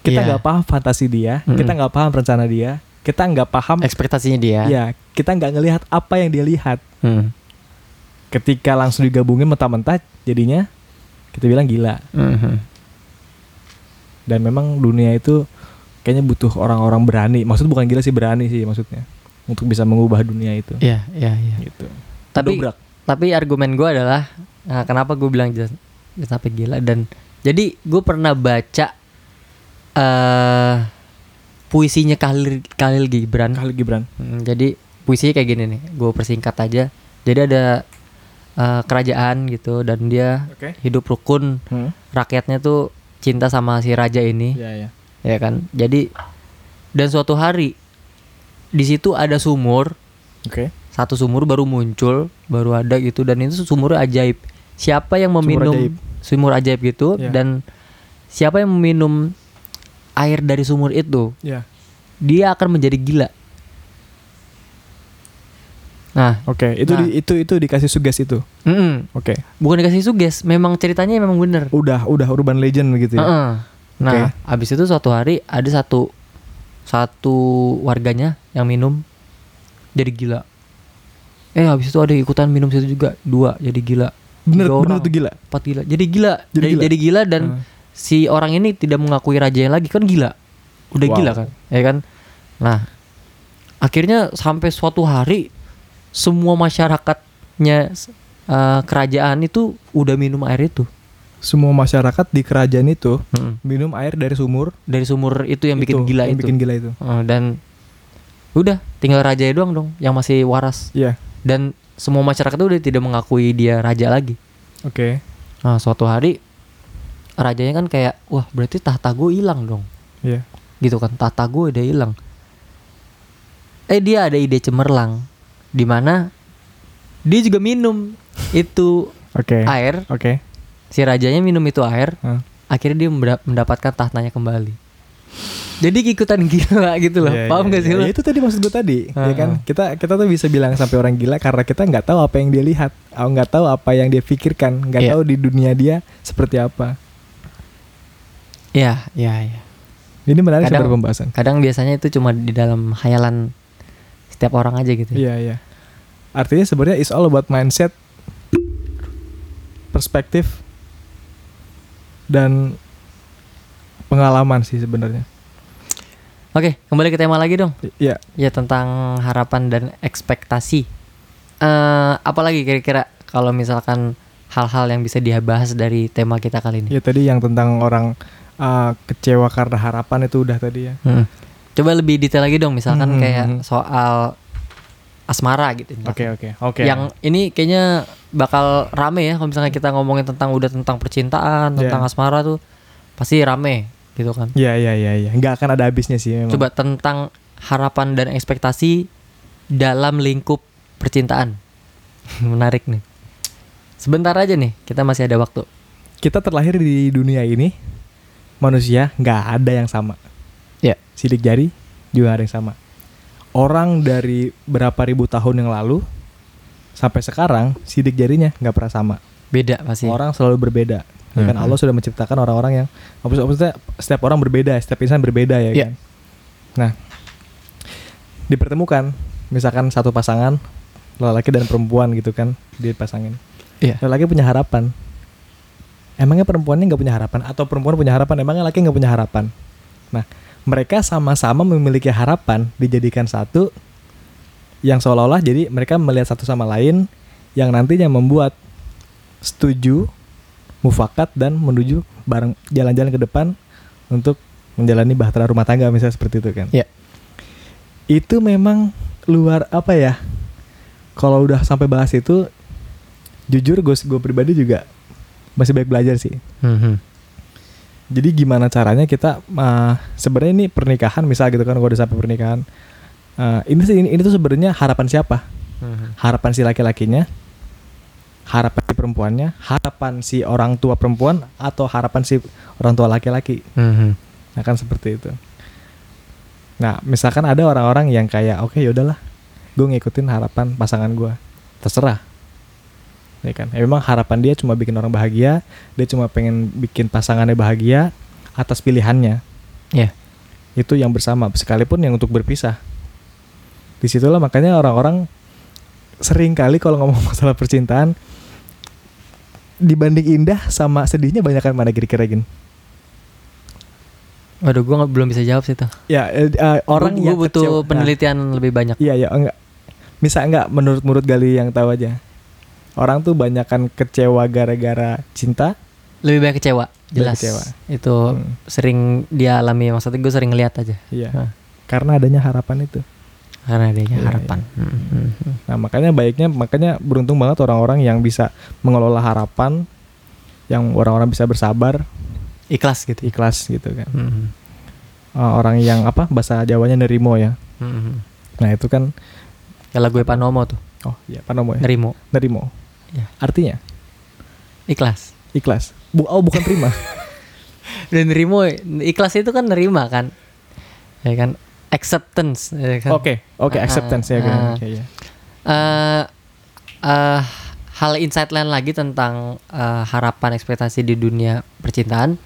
Speaker 2: kita
Speaker 1: Iya.
Speaker 2: nggak paham fantasi dia
Speaker 1: Mm-mm.
Speaker 2: kita nggak paham rencana dia kita nggak paham
Speaker 1: ekspektasinya dia
Speaker 2: ya kita nggak ngelihat apa yang dia lihat
Speaker 1: Hmm.
Speaker 2: ketika langsung digabungin mentah-mentah jadinya kita bilang gila
Speaker 1: Mhm.
Speaker 2: dan memang dunia itu kayaknya butuh orang-orang berani maksud bukan gila sih berani sih maksudnya untuk bisa mengubah dunia itu
Speaker 1: Iya, iya, iya.
Speaker 2: gitu
Speaker 1: Tapi
Speaker 2: Dobrak.
Speaker 1: tapi argumen gue adalah nah, kenapa gue bilang jangan jangan sampai gila dan jadi gue pernah baca eh puisinya Khalil Khalil Gibran
Speaker 2: Khalil Gibran
Speaker 1: Hmm, jadi puisinya kayak gini nih gue persingkat aja jadi ada eh, kerajaan gitu dan dia
Speaker 2: oke
Speaker 1: hidup rukun
Speaker 2: Hmm.
Speaker 1: rakyatnya tuh cinta sama si raja ini
Speaker 2: ya ya
Speaker 1: ya kan jadi dan suatu hari di situ ada sumur
Speaker 2: oke
Speaker 1: satu sumur baru muncul baru ada gitu dan itu sumurnya ajaib siapa yang meminum
Speaker 2: ajaib.
Speaker 1: sumur ajaib gitu
Speaker 2: Iya.
Speaker 1: dan siapa yang meminum air dari sumur itu
Speaker 2: ya
Speaker 1: dia akan menjadi gila Nah,
Speaker 2: Oke, itu
Speaker 1: Nah.
Speaker 2: di- itu itu dikasih sugesti itu.
Speaker 1: mm-mm.
Speaker 2: Oke.
Speaker 1: bukan dikasih suges, memang ceritanya memang bener.
Speaker 2: Udah udah urban legend gitu ya.
Speaker 1: Heeh. Nah, abis itu suatu hari ada satu satu warganya yang minum jadi gila. Eh, habis itu ada yang ikutan minum situ juga dua jadi gila.
Speaker 2: Bener
Speaker 1: Tiga
Speaker 2: bener
Speaker 1: orang.
Speaker 2: tuh gila.
Speaker 1: Empat gila. Jadi gila.
Speaker 2: Jadi
Speaker 1: Jadi,
Speaker 2: gila.
Speaker 1: jadi gila dan
Speaker 2: Heeh.
Speaker 1: si orang ini tidak mengakui rajanya lagi kan gila. Udah
Speaker 2: Wow.
Speaker 1: gila kan, ya kan? Nah, akhirnya sampai suatu hari semua masyarakatnya eh, kerajaan itu udah minum air itu
Speaker 2: Semua masyarakat di kerajaan itu
Speaker 1: Mm-mm.
Speaker 2: minum air dari sumur
Speaker 1: dari sumur Hmm. itu yang bikin
Speaker 2: itu,
Speaker 1: gila
Speaker 2: yang
Speaker 1: itu.
Speaker 2: bikin gila itu.
Speaker 1: Eh, dan udah tinggal raja doang dong yang masih waras
Speaker 2: Iya.
Speaker 1: dan semua masyarakat tuh udah tidak mengakui dia raja lagi.
Speaker 2: Oke.
Speaker 1: Nah, suatu hari rajanya kan kayak wah berarti tahta gue hilang dong
Speaker 2: Iya.
Speaker 1: gitu kan tahta gue udah hilang. Eh dia ada ide cemerlang di mana dia juga minum itu
Speaker 2: Oke.
Speaker 1: air
Speaker 2: Oke.
Speaker 1: si rajanya minum itu air
Speaker 2: Hah.
Speaker 1: akhirnya dia mendap- mendapatkan tahtanya kembali. Jadi ikutan gila gitu loh.
Speaker 2: Iya,
Speaker 1: Paham
Speaker 2: iya,
Speaker 1: gak sih
Speaker 2: iya.
Speaker 1: lo?
Speaker 2: Ya, itu tadi maksud gue tadi, ya
Speaker 1: Heeh.
Speaker 2: kan? Kita kita tuh bisa bilang sampai orang gila karena kita nggak tahu apa yang dia lihat, atau nggak tahu apa yang dia pikirkan, nggak
Speaker 1: Iya.
Speaker 2: tahu di dunia dia seperti apa.
Speaker 1: Ya,
Speaker 2: Iya,
Speaker 1: ya, ya.
Speaker 2: Ini menarik
Speaker 1: Kadang-
Speaker 2: sebagai pembahasan.
Speaker 1: Kadang biasanya itu cuma di dalam khayalan setiap orang aja gitu.
Speaker 2: Iya, iya. Artinya sebenarnya it's all about mindset, perspektif dan pengalaman sih sebenarnya.
Speaker 1: Oke, kembali ke tema lagi dong.
Speaker 2: I- Iya.
Speaker 1: Ya tentang harapan dan ekspektasi. Eh, apalagi kira-kira kalau misalkan hal-hal yang bisa dibahas dari tema kita kali ini.
Speaker 2: Ya tadi yang tentang orang uh, kecewa karena harapan itu udah tadi ya.
Speaker 1: Mm. Coba lebih detail lagi dong, misalkan
Speaker 2: Hmm.
Speaker 1: kayak soal asmara gitu.
Speaker 2: Oke,
Speaker 1: misalkan.
Speaker 2: oke, oke.
Speaker 1: Yang ini kayaknya bakal rame ya kalau misalnya kita ngomongin tentang udah tentang percintaan, tentang
Speaker 2: Iya.
Speaker 1: asmara tuh pasti rame gitu kan.
Speaker 2: Iya, iya, iya, iya. Nggak akan ada habisnya sih memang.
Speaker 1: Coba tentang harapan dan ekspektasi dalam lingkup percintaan. [LAUGHS] Menarik nih. Sebentar aja nih, kita masih ada waktu.
Speaker 2: kita terlahir di dunia ini manusia nggak ada yang sama. Iya.
Speaker 1: Ya.
Speaker 2: Sidik jari juga nggak ada yang sama. Orang dari berapa ribu tahun yang lalu sampai sekarang sidik jarinya nggak pernah sama.
Speaker 1: Beda pasti.
Speaker 2: Orang selalu berbeda. Ya
Speaker 1: Iya.
Speaker 2: kan
Speaker 1: Hmm.
Speaker 2: Allah sudah menciptakan orang-orang yang maksud- maksudnya setiap orang berbeda, setiap insan berbeda ya
Speaker 1: Ya.
Speaker 2: kan. Nah, dipertemukan misalkan satu pasangan lelaki dan perempuan gitu kan dipasangin
Speaker 1: Iya.
Speaker 2: lelaki punya harapan emangnya perempuannya nggak punya harapan atau perempuan punya harapan emangnya laki nggak punya harapan nah mereka sama-sama memiliki harapan dijadikan satu yang seolah-olah jadi mereka melihat satu sama lain yang nantinya membuat setuju mufakat dan menuju bareng jalan-jalan ke depan untuk menjalani bahtera rumah tangga misalnya seperti itu kan
Speaker 1: Iya.
Speaker 2: itu memang luar apa ya kalau udah sampai bahas itu jujur gue gue pribadi juga masih banyak belajar sih
Speaker 1: Mhm.
Speaker 2: jadi gimana caranya kita eh, sebenarnya ini pernikahan misal gitu kan kalau udah sampai pernikahan eh, ini sih ini, ini tuh sebenarnya harapan siapa
Speaker 1: Mhm.
Speaker 2: harapan si laki-lakinya harapan si perempuannya harapan si orang tua perempuan atau harapan si orang tua laki-laki
Speaker 1: Mhm.
Speaker 2: Nah kan seperti itu. Nah misalkan ada orang-orang yang kayak oke ya udahlah, gue ngikutin harapan pasangan gue, terserah. Ya kan, ya, memang harapan dia cuma bikin orang bahagia, dia cuma pengen bikin pasangannya bahagia atas pilihannya.
Speaker 1: Iya.
Speaker 2: Itu yang bersama, sekalipun yang untuk berpisah. Disitulah makanya orang-orang sering kali kalau ngomong [LAUGHS] masalah percintaan dibanding indah sama sedihnya banyakan mana kira-kira gini.
Speaker 1: Waduh, gua nggak- belum bisa jawab sih tuh.
Speaker 2: Ya eh, eh, orang
Speaker 1: gua,
Speaker 2: yang
Speaker 1: gua butuh
Speaker 2: kecewa- Nah,
Speaker 1: penelitian lebih banyak.
Speaker 2: Iya ya enggak. Misal enggak menurut-menurut Gali yang tahu aja. Orang tuh banyakan kecewa gara-gara cinta.
Speaker 1: Lebih banyak kecewa, jelas.
Speaker 2: kecewa.
Speaker 1: Itu
Speaker 2: Hmm,
Speaker 1: sering dia alami maksudnya gue sering lihat aja
Speaker 2: iya.
Speaker 1: Hah.
Speaker 2: Karena adanya harapan itu.
Speaker 1: karena adanya
Speaker 2: Iya,
Speaker 1: harapan. Mhm.
Speaker 2: Nah, makanya baiknya makanya beruntung banget orang-orang yang bisa mengelola harapan yang orang-orang bisa bersabar,
Speaker 1: Ikhlas gitu.
Speaker 2: ikhlas gitu kan.
Speaker 1: Mhm.
Speaker 2: Eh, orang yang apa bahasa Jawanya nerimo ya.
Speaker 1: Mhm.
Speaker 2: Nah, itu kan
Speaker 1: Kalau gue panomo tuh,
Speaker 2: oh iya panomo ya.
Speaker 1: nerimo,
Speaker 2: Nerimo.
Speaker 1: Iya.
Speaker 2: Artinya
Speaker 1: ikhlas.
Speaker 2: ikhlas. Bu, oh bukan
Speaker 1: [LAUGHS]
Speaker 2: terima.
Speaker 1: dan nerimo ikhlas itu kan nerima kan ya kan acceptance ya kan?
Speaker 2: Oke, oke
Speaker 1: Ah,
Speaker 2: acceptance ya.
Speaker 1: ah.
Speaker 2: Oke, iya.
Speaker 1: eh eh, hal insight lain lagi tentang eh, harapan ekspektasi di dunia percintaan.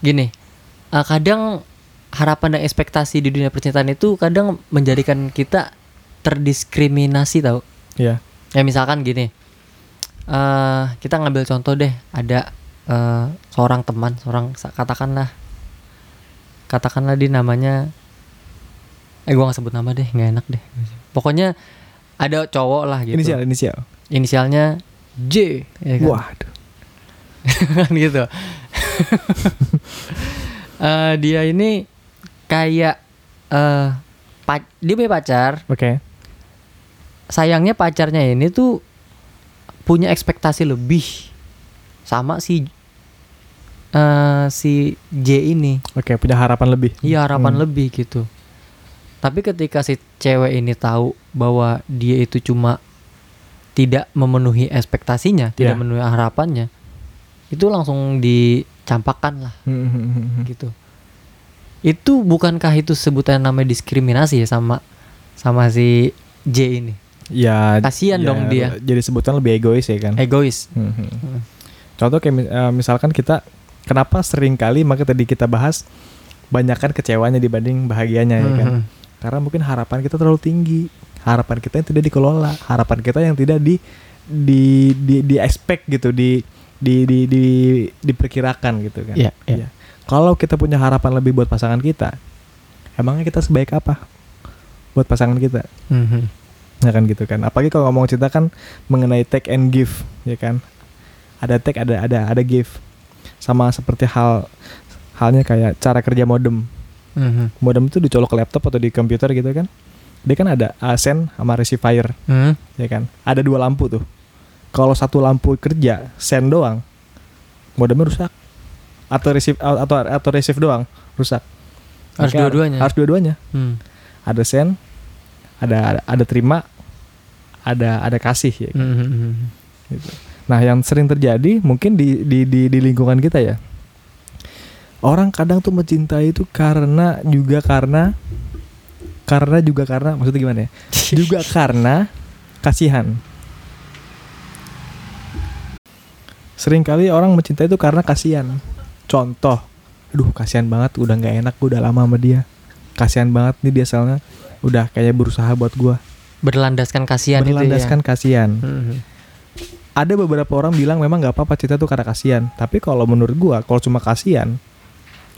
Speaker 1: Gini, eh, kadang harapan dan ekspektasi di dunia percintaan itu kadang menjadikan kita terdiskriminasi tau.
Speaker 2: Iya.
Speaker 1: Ya misalkan gini, eh kita ngambil contoh deh, ada eh, seorang teman, seorang sa- katakanlah, katakanlah di namanya, eh gua nggak sebut nama deh, nggak enak deh. Pokoknya ada cowok lah gitu.
Speaker 2: Inisial, inisial.
Speaker 1: Inisialnya [LAUGHS] J,
Speaker 2: Iya
Speaker 1: ya kan?
Speaker 2: Waduh.
Speaker 1: kan gitu. [LAUGHS] Eh, dia ini kayak eh pac- dia punya pacar,
Speaker 2: Oke.
Speaker 1: sayangnya pacarnya ini tuh punya ekspektasi lebih sama si eh, si J ini.
Speaker 2: Oke, punya harapan lebih.
Speaker 1: Iya harapan
Speaker 2: Hmm.
Speaker 1: lebih gitu. Tapi ketika si cewek ini tahu bahwa dia itu cuma tidak memenuhi ekspektasinya, tidak
Speaker 2: Iya.
Speaker 1: memenuhi harapannya, itu langsung dicampakkan lah
Speaker 2: Hmm, hmm, hmm, hmm.
Speaker 1: gitu. Itu bukankah itu sebutan namanya diskriminasi ya sama sama si J ini?
Speaker 2: [LAUGHS] Ya.
Speaker 1: Kasian
Speaker 2: ya,
Speaker 1: dong dia.
Speaker 2: Jadi sebutan lebih egois ya kan.
Speaker 1: Egois.
Speaker 2: Hmm, hmm. Contoh kayak mi- eh, misalkan kita kenapa sering kali maka tadi kita bahas banyakkan kecewanya dibanding bahagianya ya kan.
Speaker 1: Mhm.
Speaker 2: Karena mungkin harapan kita terlalu tinggi. Harapan kita yang tidak dikelola, harapan kita yang tidak di di di di expect gitu, di di di, di diperkirakan gitu kan.
Speaker 1: Iya, iya.
Speaker 2: Iya. Kalau kita punya harapan lebih buat pasangan kita, emangnya kita sebaik apa buat pasangan kita?
Speaker 1: Mhm.
Speaker 2: ya kan gitu kan apalagi kalau ngomong cinta kan mengenai take and give ya kan ada take ada ada ada give sama seperti hal halnya kayak cara kerja modem
Speaker 1: Mhm.
Speaker 2: modem itu dicolok ke laptop atau di komputer gitu kan dia kan ada uh, send sama receiver
Speaker 1: Mhm.
Speaker 2: ya kan ada dua lampu tuh kalau satu lampu kerja send doang modemnya rusak atau receive atau atau receive doang rusak
Speaker 1: Harus
Speaker 2: Maka
Speaker 1: dua-duanya?
Speaker 2: harus dua-duanya
Speaker 1: Hmm.
Speaker 2: ada send ada ada, ada terima ada ada kasih ya kan?
Speaker 1: Mhm.
Speaker 2: Gitu. nah yang sering terjadi mungkin di di di, di lingkungan kita ya orang kadang tuh mencintai itu karena juga karena karena juga karena maksudnya gimana
Speaker 1: [LAUGHS]
Speaker 2: ya juga karena kasihan seringkali orang mencintai itu karena kasihan contoh aduh kasihan banget udah nggak enak gue udah lama sama dia kasihan banget nih dia soalnya udah kayak berusaha buat gue
Speaker 1: Berlandaskan kasihan itu ya.
Speaker 2: berlandaskan kasihan
Speaker 1: Mhm.
Speaker 2: ada beberapa orang bilang memang nggak apa-apa cinta tuh karena kasihan tapi kalau menurut gua kalau cuma kasihan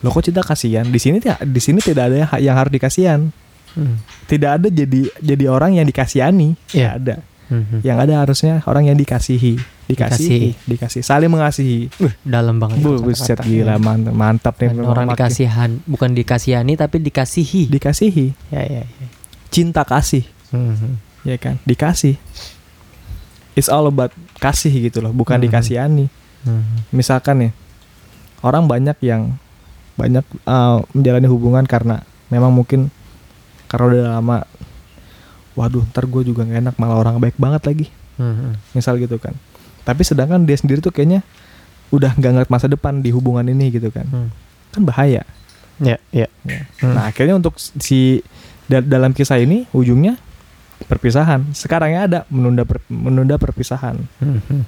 Speaker 2: lo kok cinta kasihan di sini ti- di sini tidak ada yang ha- yang harus dikasihan
Speaker 1: Mhm.
Speaker 2: tidak ada jadi jadi orang yang dikasihani
Speaker 1: Iya.
Speaker 2: ya ada
Speaker 1: Mhm.
Speaker 2: yang ada harusnya orang yang dikasihi
Speaker 1: Dikasihi.
Speaker 2: dikasihi dikasih saling mengasihi
Speaker 1: Dalam banget.
Speaker 2: Bu,
Speaker 1: kata-kata.
Speaker 2: buset gila mantap mantap
Speaker 1: Dan
Speaker 2: nih memang
Speaker 1: orang
Speaker 2: makin-
Speaker 1: dikasihan, bukan dikasihani tapi dikasihi.
Speaker 2: dikasihi
Speaker 1: ya, ya, ya.
Speaker 2: cinta kasih
Speaker 1: Mhm.
Speaker 2: ya kan dikasih it's all about kasih gitu loh bukan
Speaker 1: Mhm.
Speaker 2: dikasihani
Speaker 1: Mhm.
Speaker 2: misalkan nih orang banyak yang banyak uh, menjalani hubungan karena memang mungkin karena udah lama waduh ntar gue juga gak enak malah orang baik banget lagi
Speaker 1: Mhm.
Speaker 2: misal gitu kan tapi sedangkan dia sendiri tuh kayaknya udah nggak ngeliat masa depan di hubungan ini gitu kan
Speaker 1: Mhm.
Speaker 2: kan bahaya
Speaker 1: Ya, ya.
Speaker 2: ya.
Speaker 1: Hmm.
Speaker 2: nah akhirnya untuk si da- dalam kisah ini ujungnya perpisahan sekarangnya ada menunda per- menunda perpisahan
Speaker 1: Mhm.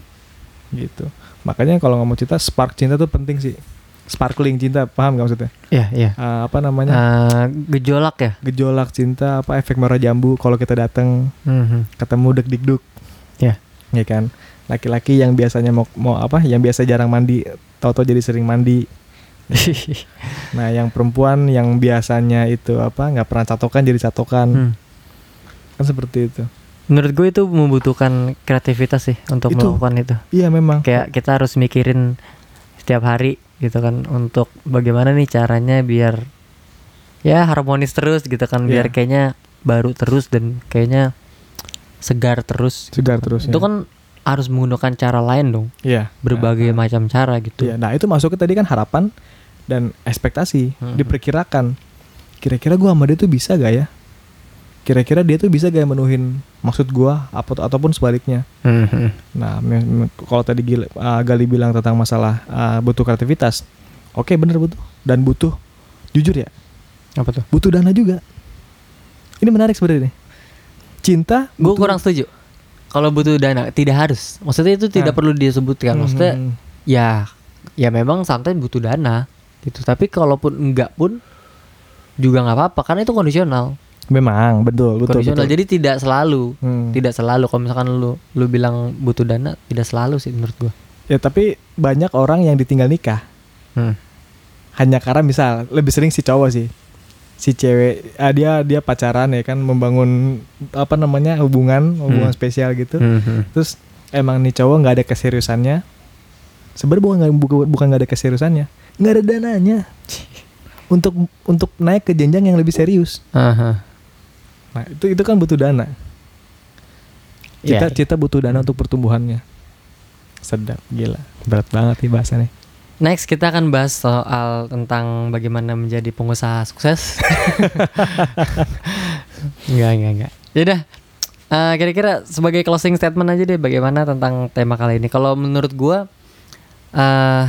Speaker 2: gitu makanya kalau ngomong cinta spark cinta tuh penting sih sparkling cinta paham gak maksudnya
Speaker 1: Ya, ya.
Speaker 2: Eh, apa namanya
Speaker 1: Eh, gejolak ya.
Speaker 2: gejolak cinta apa efek merah jambu kalau kita datang
Speaker 1: Mhm.
Speaker 2: ketemu deg deg dug
Speaker 1: Ya.
Speaker 2: ya kan laki-laki yang biasanya mau mau apa yang biasa jarang mandi tahu-tahu jadi sering mandi nah yang perempuan yang biasanya itu apa nggak pernah catokan jadi catokan
Speaker 1: [LAUGHS] Hmm.
Speaker 2: kan seperti itu
Speaker 1: Menurut gue itu membutuhkan kreativitas sih untuk
Speaker 2: Itu.
Speaker 1: melakukan itu.
Speaker 2: iya memang
Speaker 1: kayak kita harus mikirin setiap hari gitu kan untuk bagaimana nih caranya biar ya harmonis terus gitu kan biar
Speaker 2: Iya.
Speaker 1: kayaknya baru terus dan kayaknya segar terus
Speaker 2: segar terus
Speaker 1: itu
Speaker 2: ya.
Speaker 1: kan harus menggunakan cara lain dong
Speaker 2: iya
Speaker 1: berbagai macam cara gitu
Speaker 2: Iya, nah itu masuknya tadi kan harapan dan ekspektasi
Speaker 1: Mhm.
Speaker 2: diperkirakan. Kira-kira gua sama dia tuh bisa gak ya? Kira-kira dia tuh bisa gak ya menuhin maksud gua apa ataupun sebaliknya.
Speaker 1: Mhm.
Speaker 2: Nah, me- me- kalau tadi Gil- uh, Gali bilang tentang masalah uh, butuh kreativitas. Oke, bener butuh dan butuh jujur ya,
Speaker 1: apa tuh
Speaker 2: butuh dana juga. Ini menarik sebenarnya nih. cinta
Speaker 1: Gue
Speaker 2: butuh-
Speaker 1: kurang setuju. Kalau butuh dana tidak harus. Maksudnya itu tidak
Speaker 2: Nah.
Speaker 1: perlu disebutkan. Maksudnya
Speaker 2: Mhm.
Speaker 1: ya ya memang sometimes butuh dana gitu. Tapi kalaupun enggak pun juga nggak apa-apa karena itu kondisional.
Speaker 2: memang betul betul,
Speaker 1: kondisional.
Speaker 2: betul.
Speaker 1: Jadi tidak selalu.
Speaker 2: Hmm.
Speaker 1: Tidak selalu kalau misalkan lu lu bilang butuh dana tidak selalu sih menurut gua.
Speaker 2: ya tapi banyak orang yang ditinggal nikah
Speaker 1: Hmm.
Speaker 2: hanya karena misal lebih sering si cowok sih si cewek ah, dia dia pacaran ya kan membangun apa namanya hubungan hubungan
Speaker 1: Hmm.
Speaker 2: spesial gitu
Speaker 1: Mhm.
Speaker 2: terus emang nih cowok nggak ada keseriusannya sebenarnya bukan nggak- bukan bukan nggak ada keseriusannya nggak ada dananya [LAUGHS] untuk untuk naik ke jenjang yang lebih serius
Speaker 1: Aha.
Speaker 2: nah itu itu kan butuh dana kita
Speaker 1: Ya.
Speaker 2: kita butuh dana untuk pertumbuhannya sedap gila berat banget nih bahasannya
Speaker 1: Iya. Next kita akan bahas soal tentang bagaimana menjadi pengusaha sukses. Enggak, enggak, enggak. Yaudah, eh, kira-kira sebagai closing statement aja deh bagaimana tentang tema kali ini. Kalau menurut gua eh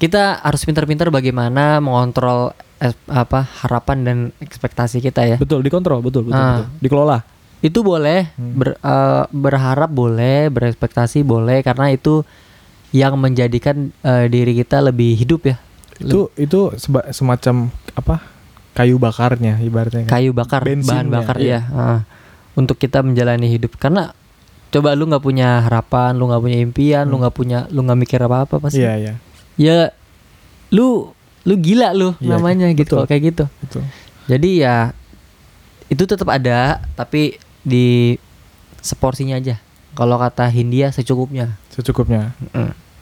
Speaker 1: kita harus pintar-pintar bagaimana mengontrol es- apa harapan dan ekspektasi kita ya.
Speaker 2: betul dikontrol betul betul,
Speaker 1: Ah.
Speaker 2: betul. dikelola
Speaker 1: Itu boleh ber- eh, berharap boleh, berekspektasi boleh karena itu yang menjadikan eh, diri kita lebih hidup ya.
Speaker 2: itu itu seba- semacam apa kayu bakarnya ibaratnya kan.
Speaker 1: kayu bakar bahan
Speaker 2: Bensinnya,
Speaker 1: bakar
Speaker 2: iya.
Speaker 1: ya ah. untuk kita menjalani hidup karena coba lu nggak punya harapan lu nggak punya impian lu nggak punya lu nggak mikir apa apa pasti
Speaker 2: Hmm. iya iya
Speaker 1: ya lu lu gila lu
Speaker 2: Iya,
Speaker 1: namanya gitu
Speaker 2: betul.
Speaker 1: kalau kayak gitu
Speaker 2: betul
Speaker 1: jadi ya itu tetap ada tapi di seporsinya aja kalau kata Hindia secukupnya
Speaker 2: secukupnya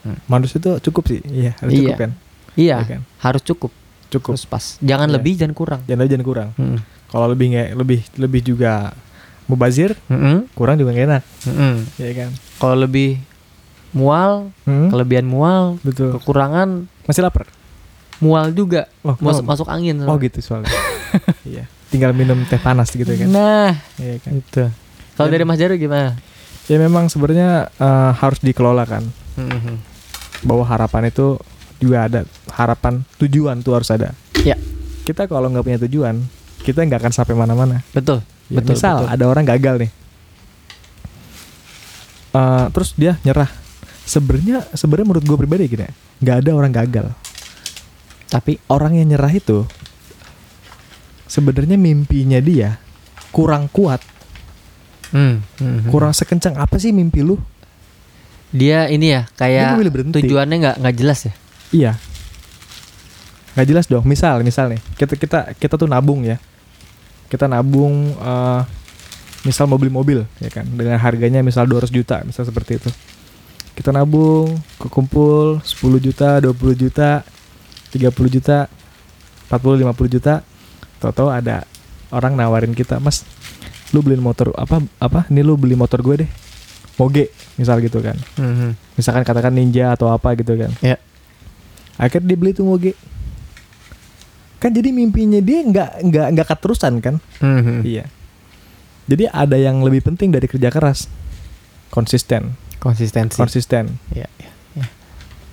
Speaker 1: Mm.
Speaker 2: manusia itu cukup sih iya harus
Speaker 1: Iya.
Speaker 2: cukup kan
Speaker 1: iya
Speaker 2: Iya kan?
Speaker 1: harus cukup
Speaker 2: cukup
Speaker 1: harus pas jangan
Speaker 2: Iya.
Speaker 1: lebih jangan kurang
Speaker 2: jangan jangan kurang
Speaker 1: Mm.
Speaker 2: kalau lebih nggak lebih lebih juga mubazir
Speaker 1: Mm-mm.
Speaker 2: kurang juga nggak enak
Speaker 1: Mm-mm.
Speaker 2: ya kan
Speaker 1: kalau lebih mual
Speaker 2: Hmm,
Speaker 1: kelebihan mual
Speaker 2: betul
Speaker 1: kekurangan
Speaker 2: masih lapar
Speaker 1: mual juga
Speaker 2: oh,
Speaker 1: masuk
Speaker 2: kenapa?
Speaker 1: masuk angin
Speaker 2: oh gitu
Speaker 1: [LAUGHS]
Speaker 2: soalnya iya tinggal minum teh panas gitu kan
Speaker 1: nah
Speaker 2: Iya kan
Speaker 1: itu kalau dari Mas Jaru gimana
Speaker 2: ya memang sebenarnya eh, harus dikelola kan bahwa harapan itu juga ada harapan tujuan tuh harus ada
Speaker 1: Ya.
Speaker 2: kita kalau nggak punya tujuan kita nggak akan sampai mana-mana
Speaker 1: betul
Speaker 2: Ya,
Speaker 1: betul
Speaker 2: misal
Speaker 1: betul.
Speaker 2: ada orang gagal nih Eh, terus dia nyerah sebenarnya sebenarnya menurut gue pribadi gini ya, nggak ada orang gagal
Speaker 1: tapi
Speaker 2: orang yang nyerah itu sebenarnya mimpinya dia kurang kuat
Speaker 1: hmm, hmm, hmm.
Speaker 2: kurang sekencang apa sih mimpi lu
Speaker 1: dia ini ya
Speaker 2: Dia
Speaker 1: kayak
Speaker 2: memilih berhenti.
Speaker 1: tujuannya nggak nggak jelas ya
Speaker 2: Iya. Nggak jelas dong. Misal, misal nih, kita kita kita tuh nabung ya. Kita nabung eh misal mau beli mobil ya kan dengan harganya misal 200 juta, misal seperti itu. Kita nabung, kekumpul 10 juta, 20 juta, 30 juta, 40 50 juta. Tahu-tahu ada orang nawarin kita, "Mas, lu beliin motor apa apa? Ini lu beli motor gue deh." Moge, misal gitu kan. Misalkan katakan Ninja atau apa gitu kan.
Speaker 1: ya
Speaker 2: Akhirnya dia beli tuh moge. Kan jadi mimpinya dia nggak nggak nggak keterusan kan?
Speaker 1: Hmm.
Speaker 2: Iya. Jadi ada yang lebih penting dari kerja keras. Konsisten,
Speaker 1: konsistensi
Speaker 2: konsisten.
Speaker 1: ya, ya, ya.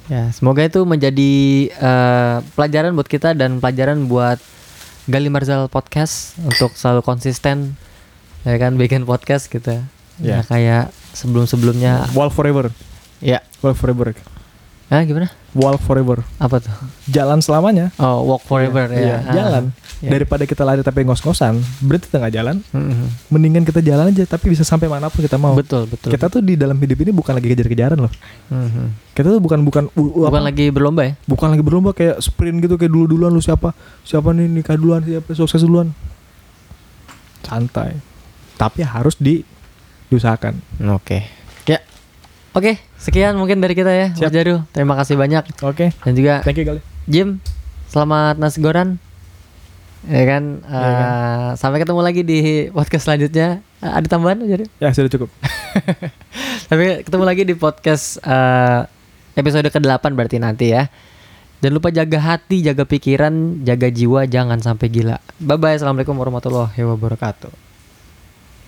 Speaker 1: Ya, semoga itu menjadi eh, pelajaran buat kita dan pelajaran buat Gali Marzal podcast untuk selalu konsisten ya kan bikin podcast gitu ya
Speaker 2: Ya.
Speaker 1: kayak sebelum sebelumnya
Speaker 2: Wall forever,
Speaker 1: ya
Speaker 2: wall forever,
Speaker 1: ah gimana
Speaker 2: wall forever.
Speaker 1: apa tuh
Speaker 2: Jalan selamanya.
Speaker 1: oh walk forever ya,
Speaker 2: Iya,
Speaker 1: Ah.
Speaker 2: jalan.
Speaker 1: Iya.
Speaker 2: Daripada kita lari tapi ngos-ngosan, berarti tengah jalan.
Speaker 1: Mm-mm.
Speaker 2: Mendingan kita jalan aja tapi bisa sampai manapun kita mau.
Speaker 1: Mm-hmm. betul betul
Speaker 2: Kita tuh di dalam hidup ini bukan lagi kejar-kejaran loh.
Speaker 1: Mhm.
Speaker 2: Kita tuh bukan bukan u- u- apa-
Speaker 1: bukan lagi berlomba ya
Speaker 2: bukan lagi berlomba kayak sprint gitu kayak dulu duluan lu siapa siapa nih nikah duluan siapa sukses duluan santai tapi harus di diusahakan
Speaker 1: oke ya oke sekian mungkin dari kita ya Mas
Speaker 2: Siap.
Speaker 1: Jarul. terima kasih banyak
Speaker 2: oke
Speaker 1: dan juga
Speaker 2: thank you kali
Speaker 1: Jim, selamat nasi goran. Ya kan?
Speaker 2: Iya kan?
Speaker 1: Eh, Sampai ketemu lagi di podcast selanjutnya. Eh, ada tambahan jadi?
Speaker 2: ya sudah cukup
Speaker 1: Sampai ketemu lagi di podcast eh, episode ke-8 berarti nanti ya. Jangan lupa jaga hati, jaga pikiran, jaga jiwa, jangan sampai gila. Bye bye. Assalamualaikum warahmatullahi wabarakatuh.